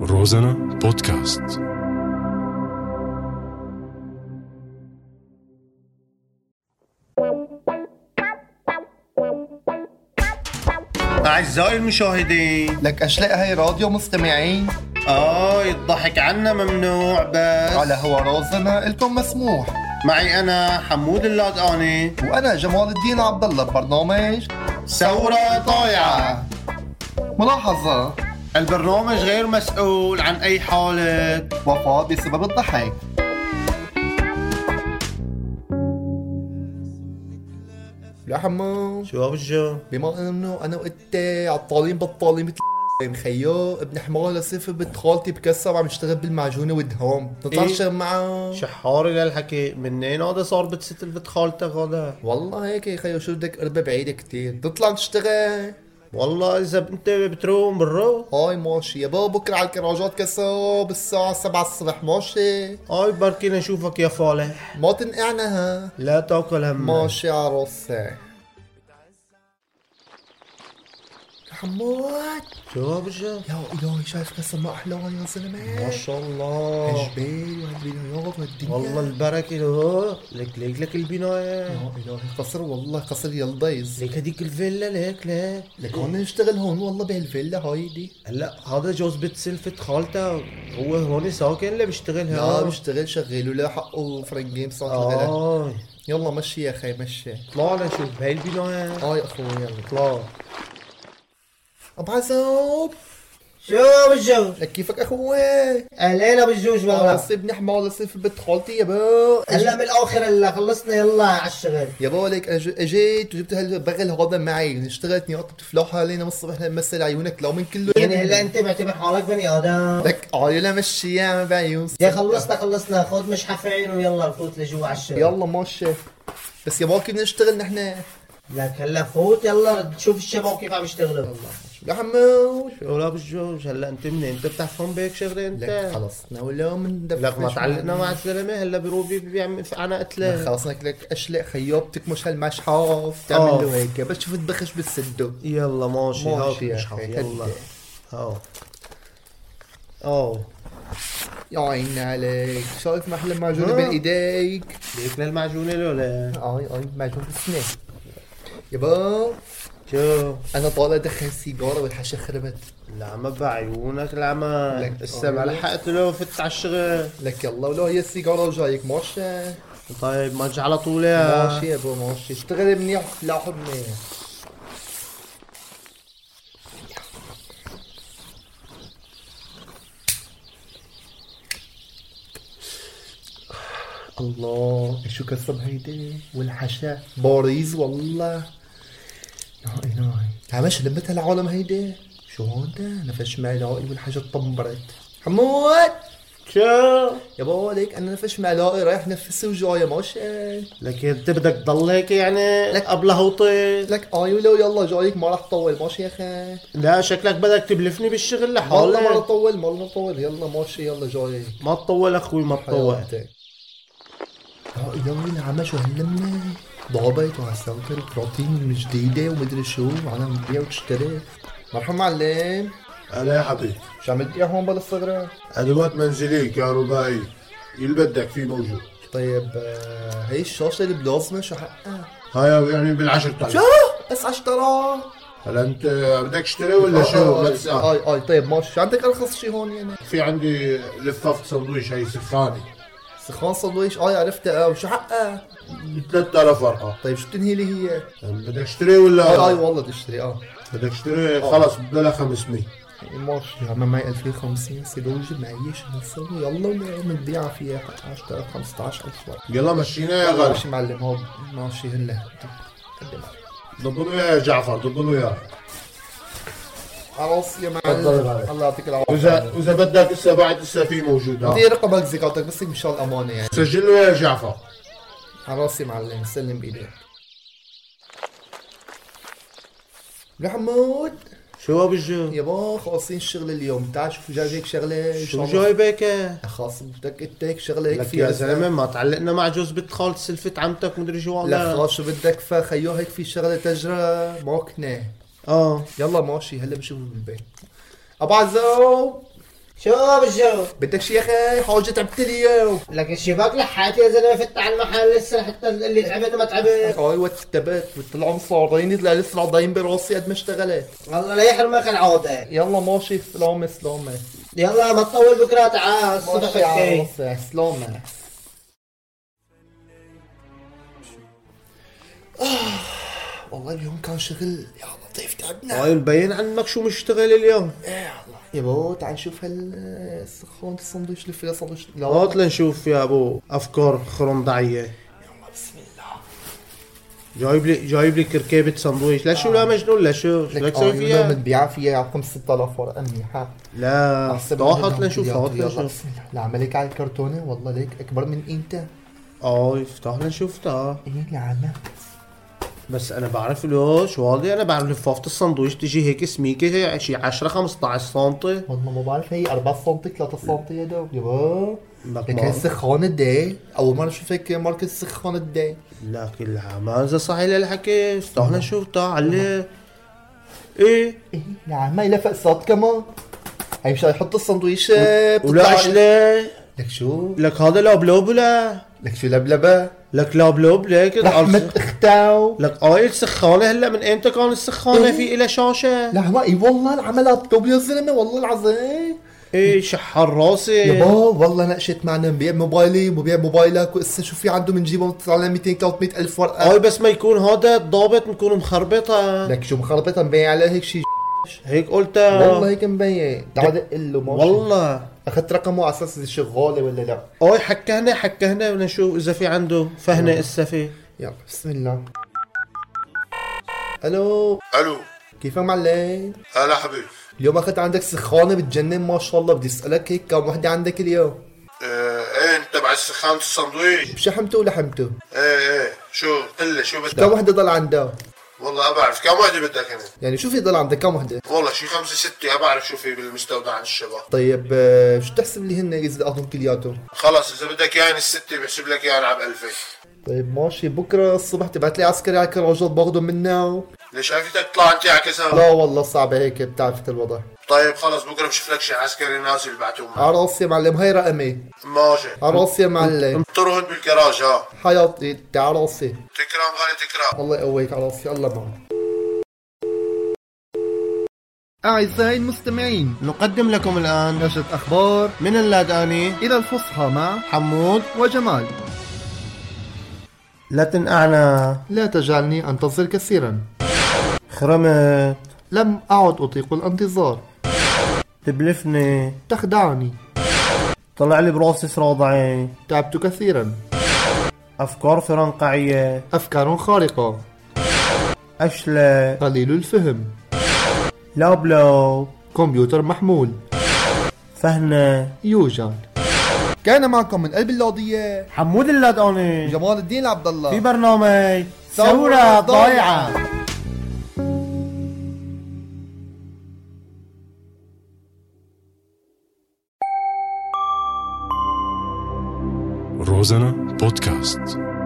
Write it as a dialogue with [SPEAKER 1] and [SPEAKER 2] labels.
[SPEAKER 1] روزانا بودكاست
[SPEAKER 2] أعزائي المشاهدين
[SPEAKER 3] لك اشلاء هاي راديو مستمعين
[SPEAKER 2] آي الضحك عنا ممنوع بس
[SPEAKER 3] على هو رازنا الكم مسموح
[SPEAKER 2] معي أنا حمود اللادقاني
[SPEAKER 3] وانا جمال الدين عبد الله ببرنامج
[SPEAKER 2] ثورة طايعة
[SPEAKER 3] ملاحظه
[SPEAKER 2] البرنامج غير مسؤول عن أي حالة
[SPEAKER 3] وفاه بسبب الضحك يا حمام
[SPEAKER 2] شو هالجو؟
[SPEAKER 3] بما انه انا وانت عطالين بطالين مثل خيو ابن حمار لسيف بنت خالتي بكسر عم يشتغل بالمعجونه والدهان
[SPEAKER 2] إيه؟
[SPEAKER 3] نتعشى معه
[SPEAKER 2] شحاري للحكي منين هذا صار بتست البت خالتك هذا؟
[SPEAKER 3] والله هيك يا خيو شو بدك قربة بعيدة كتير تطلع تشتغل
[SPEAKER 2] والله إذا أنت بتروم بالرو
[SPEAKER 3] هاي ماشي يا بابا بكره على الكراجات كساب الساعة 7 الصبح ماشي
[SPEAKER 2] آي بركي نشوفك يا فالح
[SPEAKER 3] ما تنقعنا ها
[SPEAKER 2] لا تاكل هم
[SPEAKER 3] ماشي عروسة حمود
[SPEAKER 2] شو هالجو؟
[SPEAKER 3] يا الهي شايف قسم ما احلاها يا زلمة
[SPEAKER 2] ما شاء الله
[SPEAKER 3] الجبال والبنايات والدنيا
[SPEAKER 2] والله البركة له لك لك لك البناية
[SPEAKER 3] يا الهي قصر والله قصر يا البيض
[SPEAKER 2] ليك هذيك الفيلا ليك ليك
[SPEAKER 3] لك هون نشتغل هون والله بهالفيلا هايدي
[SPEAKER 2] هلا هذا جوز بيت سلفة خالته هو هون ساكن اللي بيشتغل
[SPEAKER 3] لا بشتغل شغال ولا حقه فرنك جيم صار شغالة.
[SPEAKER 2] اه
[SPEAKER 3] يلا مشي يا اخي مشي
[SPEAKER 2] طلع لنشوف هاي البناية
[SPEAKER 3] اه يا اخوي يلا
[SPEAKER 2] طلع
[SPEAKER 3] ابو عزوب
[SPEAKER 2] شو بالجو
[SPEAKER 3] لك كيفك اخوي
[SPEAKER 2] اهلين ابو الجوج
[SPEAKER 3] والله سيبني حمار لسيف بنت خالتي يابا هلا
[SPEAKER 2] من الاخر هلا خلصنا يلا على الشغل
[SPEAKER 3] يابا لك أج- اجيت وجبت هالبغل هذا معي اشتغلتني قطة فلاحة علينا من الصبح لنمثل عيونك لو من كله
[SPEAKER 2] يعني انت معتبر حالك بني ادم
[SPEAKER 3] لك عيلة مشي يا بعيون
[SPEAKER 2] خلصنا خلصنا خذ مش حفعين ويلا فوت لجوا على الشغل
[SPEAKER 3] يلا ماشي بس يابا كيف بدنا نشتغل نحن
[SPEAKER 2] لك هلا فوت يلا شوف الشباب كيف عم يشتغلوا
[SPEAKER 3] يا حمود
[SPEAKER 2] شو لا بالجوج هلا انت منين انت بتحفهم بهيك شغله انت
[SPEAKER 3] لك خلصنا ولا من دفع
[SPEAKER 2] لك ما تعلقنا مع الزلمه هلا بروبي بيعمل انا قتله
[SPEAKER 3] خلصنا لك اشلاء خيوبتك مش هالمشحف
[SPEAKER 2] آه.
[SPEAKER 3] تعمل له هيك بس شوف تبخش بالسدو
[SPEAKER 2] يلا ماشي
[SPEAKER 3] ماشي
[SPEAKER 2] ماشي
[SPEAKER 3] يا
[SPEAKER 2] مش حاف
[SPEAKER 3] أخي،
[SPEAKER 2] يلا
[SPEAKER 3] هدي.
[SPEAKER 2] هاو هاو
[SPEAKER 3] يا عيني عليك شايف محل المعجونة
[SPEAKER 2] آه.
[SPEAKER 3] بين آه، ايديك
[SPEAKER 2] ليك للمعجونة لولا
[SPEAKER 3] اي اي معجون بالسنان يابا
[SPEAKER 2] شو
[SPEAKER 3] انا طالع ادخن سيجاره والحشا خربت
[SPEAKER 2] العمى بعيونك العمى
[SPEAKER 3] لك
[SPEAKER 2] لسه ما
[SPEAKER 3] طيب.
[SPEAKER 2] لحقت له فت على الشغل
[SPEAKER 3] لك يلا ولو هي السيجاره وجايك ماشي
[SPEAKER 2] طيب ما تجي على طول يا
[SPEAKER 3] ماشي يابا ماشي اشتغل منيح فلاح منيح الله شو كسب هيدي والحشا باريز والله ناي ناي عمش لمتها العالم هيدي شو هودا نفش معلائي والحشا طمبرت حمود
[SPEAKER 2] شو
[SPEAKER 3] يا بابا ليك انا نفش معلائي رايح نفسي وجاي ماشي
[SPEAKER 2] لك انت بدك تضل هيك يعني
[SPEAKER 3] لك-
[SPEAKER 2] قبل هوطي
[SPEAKER 3] لك اي ولو يلا جايك ما راح طول ماشي يا اخي
[SPEAKER 2] لا شكلك بدك تبلفني بالشغل
[SPEAKER 3] والله ما راح
[SPEAKER 2] لحالك
[SPEAKER 3] طول والله ما راح طول يلا ماشي يلا جايك
[SPEAKER 2] ما تطول اخوي ما تطول
[SPEAKER 3] حياتك يا إلهي العمى شو هاللمة ضابط وعساكر وكراتين جديدة ومدري شو وعالم تبيع وتشتري مرحبا معلم
[SPEAKER 4] هلا يا حبيبي
[SPEAKER 3] شو عم تبيع هون بلا الصغرى؟
[SPEAKER 4] ادوات منزليه كهربائيه اللي بدك فيه موجود
[SPEAKER 3] طيب آه، هي الشاشة البلازما شو حقها؟
[SPEAKER 4] هاي يعني بالعشرة شو
[SPEAKER 3] بس 10
[SPEAKER 4] هلا انت بدك تشتري ولا
[SPEAKER 3] آه،
[SPEAKER 4] شو ما تسأل
[SPEAKER 3] اي اي طيب ماشي شو عندك ارخص شي هون يعني؟
[SPEAKER 4] في عندي لفافة سندويش هي سفراني
[SPEAKER 3] سخان سندويش اي عرفتها اه وشو حقها؟
[SPEAKER 4] 3000 ورقة
[SPEAKER 3] طيب شو بتنهي لي هي؟
[SPEAKER 4] بدك تشتري
[SPEAKER 3] اي اي
[SPEAKER 4] ولا
[SPEAKER 3] والله تشتري يعني اه
[SPEAKER 4] بدك تشتري خلص بلا 500
[SPEAKER 3] ماشي عم معي 2050 سيدوج معيش نسوي يلا ونبيع فيها 10000 15000 ورق
[SPEAKER 4] يلا مشينا يا غالي
[SPEAKER 3] ماشي معلم هو ماشي هلا قدم
[SPEAKER 4] ضبطوا يا جعفر ضبطوا يا
[SPEAKER 3] خلاص يا
[SPEAKER 4] تفضل يا
[SPEAKER 3] معلم
[SPEAKER 4] غالي.
[SPEAKER 3] الله يعطيك العافيه
[SPEAKER 4] واذا اذا بدك هسه بعد هسه في موجود ها.
[SPEAKER 3] دي رقمك زكاتك بس مشان الامانه يعني
[SPEAKER 4] سجل له يا جعفر
[SPEAKER 3] على راسي معلم سلم بايدك محمود
[SPEAKER 2] شو بالجو
[SPEAKER 3] يابا خالصين الشغل اليوم تعال شوف جايبك شغله إن شاء
[SPEAKER 2] شو
[SPEAKER 3] الله.
[SPEAKER 2] جايبك
[SPEAKER 3] خلاص بدك انت هيك شغله هيك
[SPEAKER 2] لك
[SPEAKER 3] فيها
[SPEAKER 2] يا زلمه ما تعلقنا مع جوز بنت خالة سلفة عمتك مدري شو
[SPEAKER 3] لا
[SPEAKER 2] والله
[SPEAKER 3] خلاص شو بدك فخيو هيك في شغله تجرى ماكنه
[SPEAKER 2] اه
[SPEAKER 3] يلا ماشي هلا بشوفه بالبيت ابو عزو
[SPEAKER 2] شوف الشوف
[SPEAKER 3] بدك شي يا اخي حاجه تعبت لي اياه
[SPEAKER 2] لك الشباك لحاتي يا زلمه فتح المحل لسه حتى اللي تعبت ما تعبت
[SPEAKER 3] هاي وقت التبات وطلعوا مصارعين طلع لسه العضايم براسي قد ما اشتغلت
[SPEAKER 2] والله لا يحرمك العوده
[SPEAKER 3] يلا ماشي سلامة سلامة
[SPEAKER 2] يلا ما تطول بكره تعال الصبح
[SPEAKER 3] ماشي يا
[SPEAKER 2] فكي.
[SPEAKER 3] عاصي، سلامة آه، والله اليوم كان شغل يا لطيف تعبنا
[SPEAKER 5] هاي مبين عنك شو مشتغل اليوم
[SPEAKER 3] يا بو تعال نشوف هال سخون الصندوق اللي فيها صندوق لا
[SPEAKER 5] هات لنشوف يا ابو افكار خرندعيه
[SPEAKER 3] بسم الله
[SPEAKER 5] جايب لي جايب لي كركيبه سندويش لا شو لا مجنون لا شو شو بدك
[SPEAKER 3] لك
[SPEAKER 5] تسوي
[SPEAKER 3] آه
[SPEAKER 5] فيها
[SPEAKER 3] بنبيعها فيها رقم 6000 ورقة منيحة
[SPEAKER 5] لا تعال هات لنشوف هات لنشوف
[SPEAKER 3] لعملك على الكرتونة والله ليك أكبر من إيه قيمتها
[SPEAKER 5] اه افتح لنشوف تعال
[SPEAKER 3] إيه لعنا
[SPEAKER 5] بس انا بعرف له شو هادي انا بعرف لفافه السندويش تجي هيك سميكه هي شي 10 15 سم
[SPEAKER 3] والله ما بعرف هي 4 سم 3 سم يا دوب يابا
[SPEAKER 5] لك
[SPEAKER 3] لك
[SPEAKER 5] ما-
[SPEAKER 3] هي السخانة دي أول مرة أشوف هيك ماركة السخانة دي
[SPEAKER 5] لكن لا ما اذا صحيح للحكي تعال نشوف تعال علي ايه
[SPEAKER 3] إيه لعنا إلها فقسات كمان هي مش هيحط السندويش آه،
[SPEAKER 5] ولا
[SPEAKER 3] بتطلع عليه.
[SPEAKER 5] عشلة
[SPEAKER 3] لك شو
[SPEAKER 5] لك هذا لابلوب ولا
[SPEAKER 3] لك شو لبلبة
[SPEAKER 5] لك لابلوب ليك
[SPEAKER 3] رحمة اختاو
[SPEAKER 5] لك آي السخانة هلا من امتى كان السخانة في إلها شاشة؟
[SPEAKER 3] لا ما اي والله العملها بطوب يا زلمه والله العظيم
[SPEAKER 5] ايه شحر راسي
[SPEAKER 3] يابا والله ناقشت معنا مبيع موبايلي ومبيع موبايلك وإسا شو في عنده بنجيبه بتطلع لنا 200 300 الف ورقه
[SPEAKER 5] آي بس ما يكون هذا الضابط نكون مخربطة
[SPEAKER 3] لك شو مخربطه مبين عليه هيك شيء
[SPEAKER 5] هيك
[SPEAKER 3] والله
[SPEAKER 5] قلتها
[SPEAKER 3] هيك مبين تعال دق له ماشي
[SPEAKER 5] والله
[SPEAKER 3] اخذت رقمه على اساس اذا شغاله ولا لا
[SPEAKER 5] آي حكهنا حكهنا ونشوف إذا في عنده فهنا إسا في
[SPEAKER 3] يلا بسم الله الو
[SPEAKER 4] الو
[SPEAKER 3] كيفك معلم؟
[SPEAKER 4] هلا حبيبي
[SPEAKER 3] اليوم اخذت عندك سخانه بتجنن ما شاء الله بدي اسالك هيك كم وحده عندك اليوم؟
[SPEAKER 4] آه، ايه انت بعد سخانة السندويش
[SPEAKER 3] شحمته ولحمته؟
[SPEAKER 4] ايه ايه شو قلة شو بدك
[SPEAKER 3] كم وحده ضل عندها؟
[SPEAKER 4] والله ما بعرف كم وحده بدك انا
[SPEAKER 3] يعني شو في ضل عندك كم وحده؟
[SPEAKER 4] والله شي خمسة ستة ما بعرف شو في بالمستودع عن الشباب
[SPEAKER 3] طيب آه، شو تحسب لي هن اذا اخذهم كلياتهم؟
[SPEAKER 4] خلص اذا بدك اياهم الستة بحسب لك اياهم على 2000
[SPEAKER 3] طيب ماشي بكره الصبح تبعت لي عسكري على كراجات باخذهم منه
[SPEAKER 4] ليش عرفتك تطلع انت على كسا
[SPEAKER 3] لا والله صعبه هيك بتعرف الوضع
[SPEAKER 4] طيب خلص بكره بشوف لك شي عسكري نازل بعتهم
[SPEAKER 3] على راسي يا معلم هاي رقمي
[SPEAKER 4] ماشي
[SPEAKER 3] على راسي يا معلم
[SPEAKER 4] انطرهم بالكراج ها
[SPEAKER 3] حياتي انت على راسي
[SPEAKER 4] تكرم غالي تكرم
[SPEAKER 3] الله يقويك على راسي الله معك أعزائي المستمعين
[SPEAKER 5] نقدم لكم الآن
[SPEAKER 3] نشرة أخبار
[SPEAKER 5] من اللاداني
[SPEAKER 3] إلى الفصحى مع
[SPEAKER 5] حمود
[SPEAKER 3] وجمال
[SPEAKER 5] لا تنقعنا
[SPEAKER 3] لا تجعلني أنتظر كثيرا
[SPEAKER 5] خرمت
[SPEAKER 3] لم أعد أطيق الانتظار
[SPEAKER 5] تبلفني
[SPEAKER 3] تخدعني
[SPEAKER 5] طلع لي براسي سراضعي
[SPEAKER 3] تعبت كثيرا
[SPEAKER 5] أفكار فرنقعية
[SPEAKER 3] أفكار خارقة
[SPEAKER 5] أشلة
[SPEAKER 3] قليل الفهم
[SPEAKER 5] لابلوب
[SPEAKER 3] كمبيوتر محمول
[SPEAKER 5] فهنا
[SPEAKER 3] يوجد كان معكم من قلب اللوضية
[SPEAKER 5] حمود اللاداني
[SPEAKER 3] جمال الدين عبد
[SPEAKER 5] في
[SPEAKER 3] الله
[SPEAKER 5] برنامج
[SPEAKER 3] ثورة ضايعة.
[SPEAKER 1] Розана подкаст.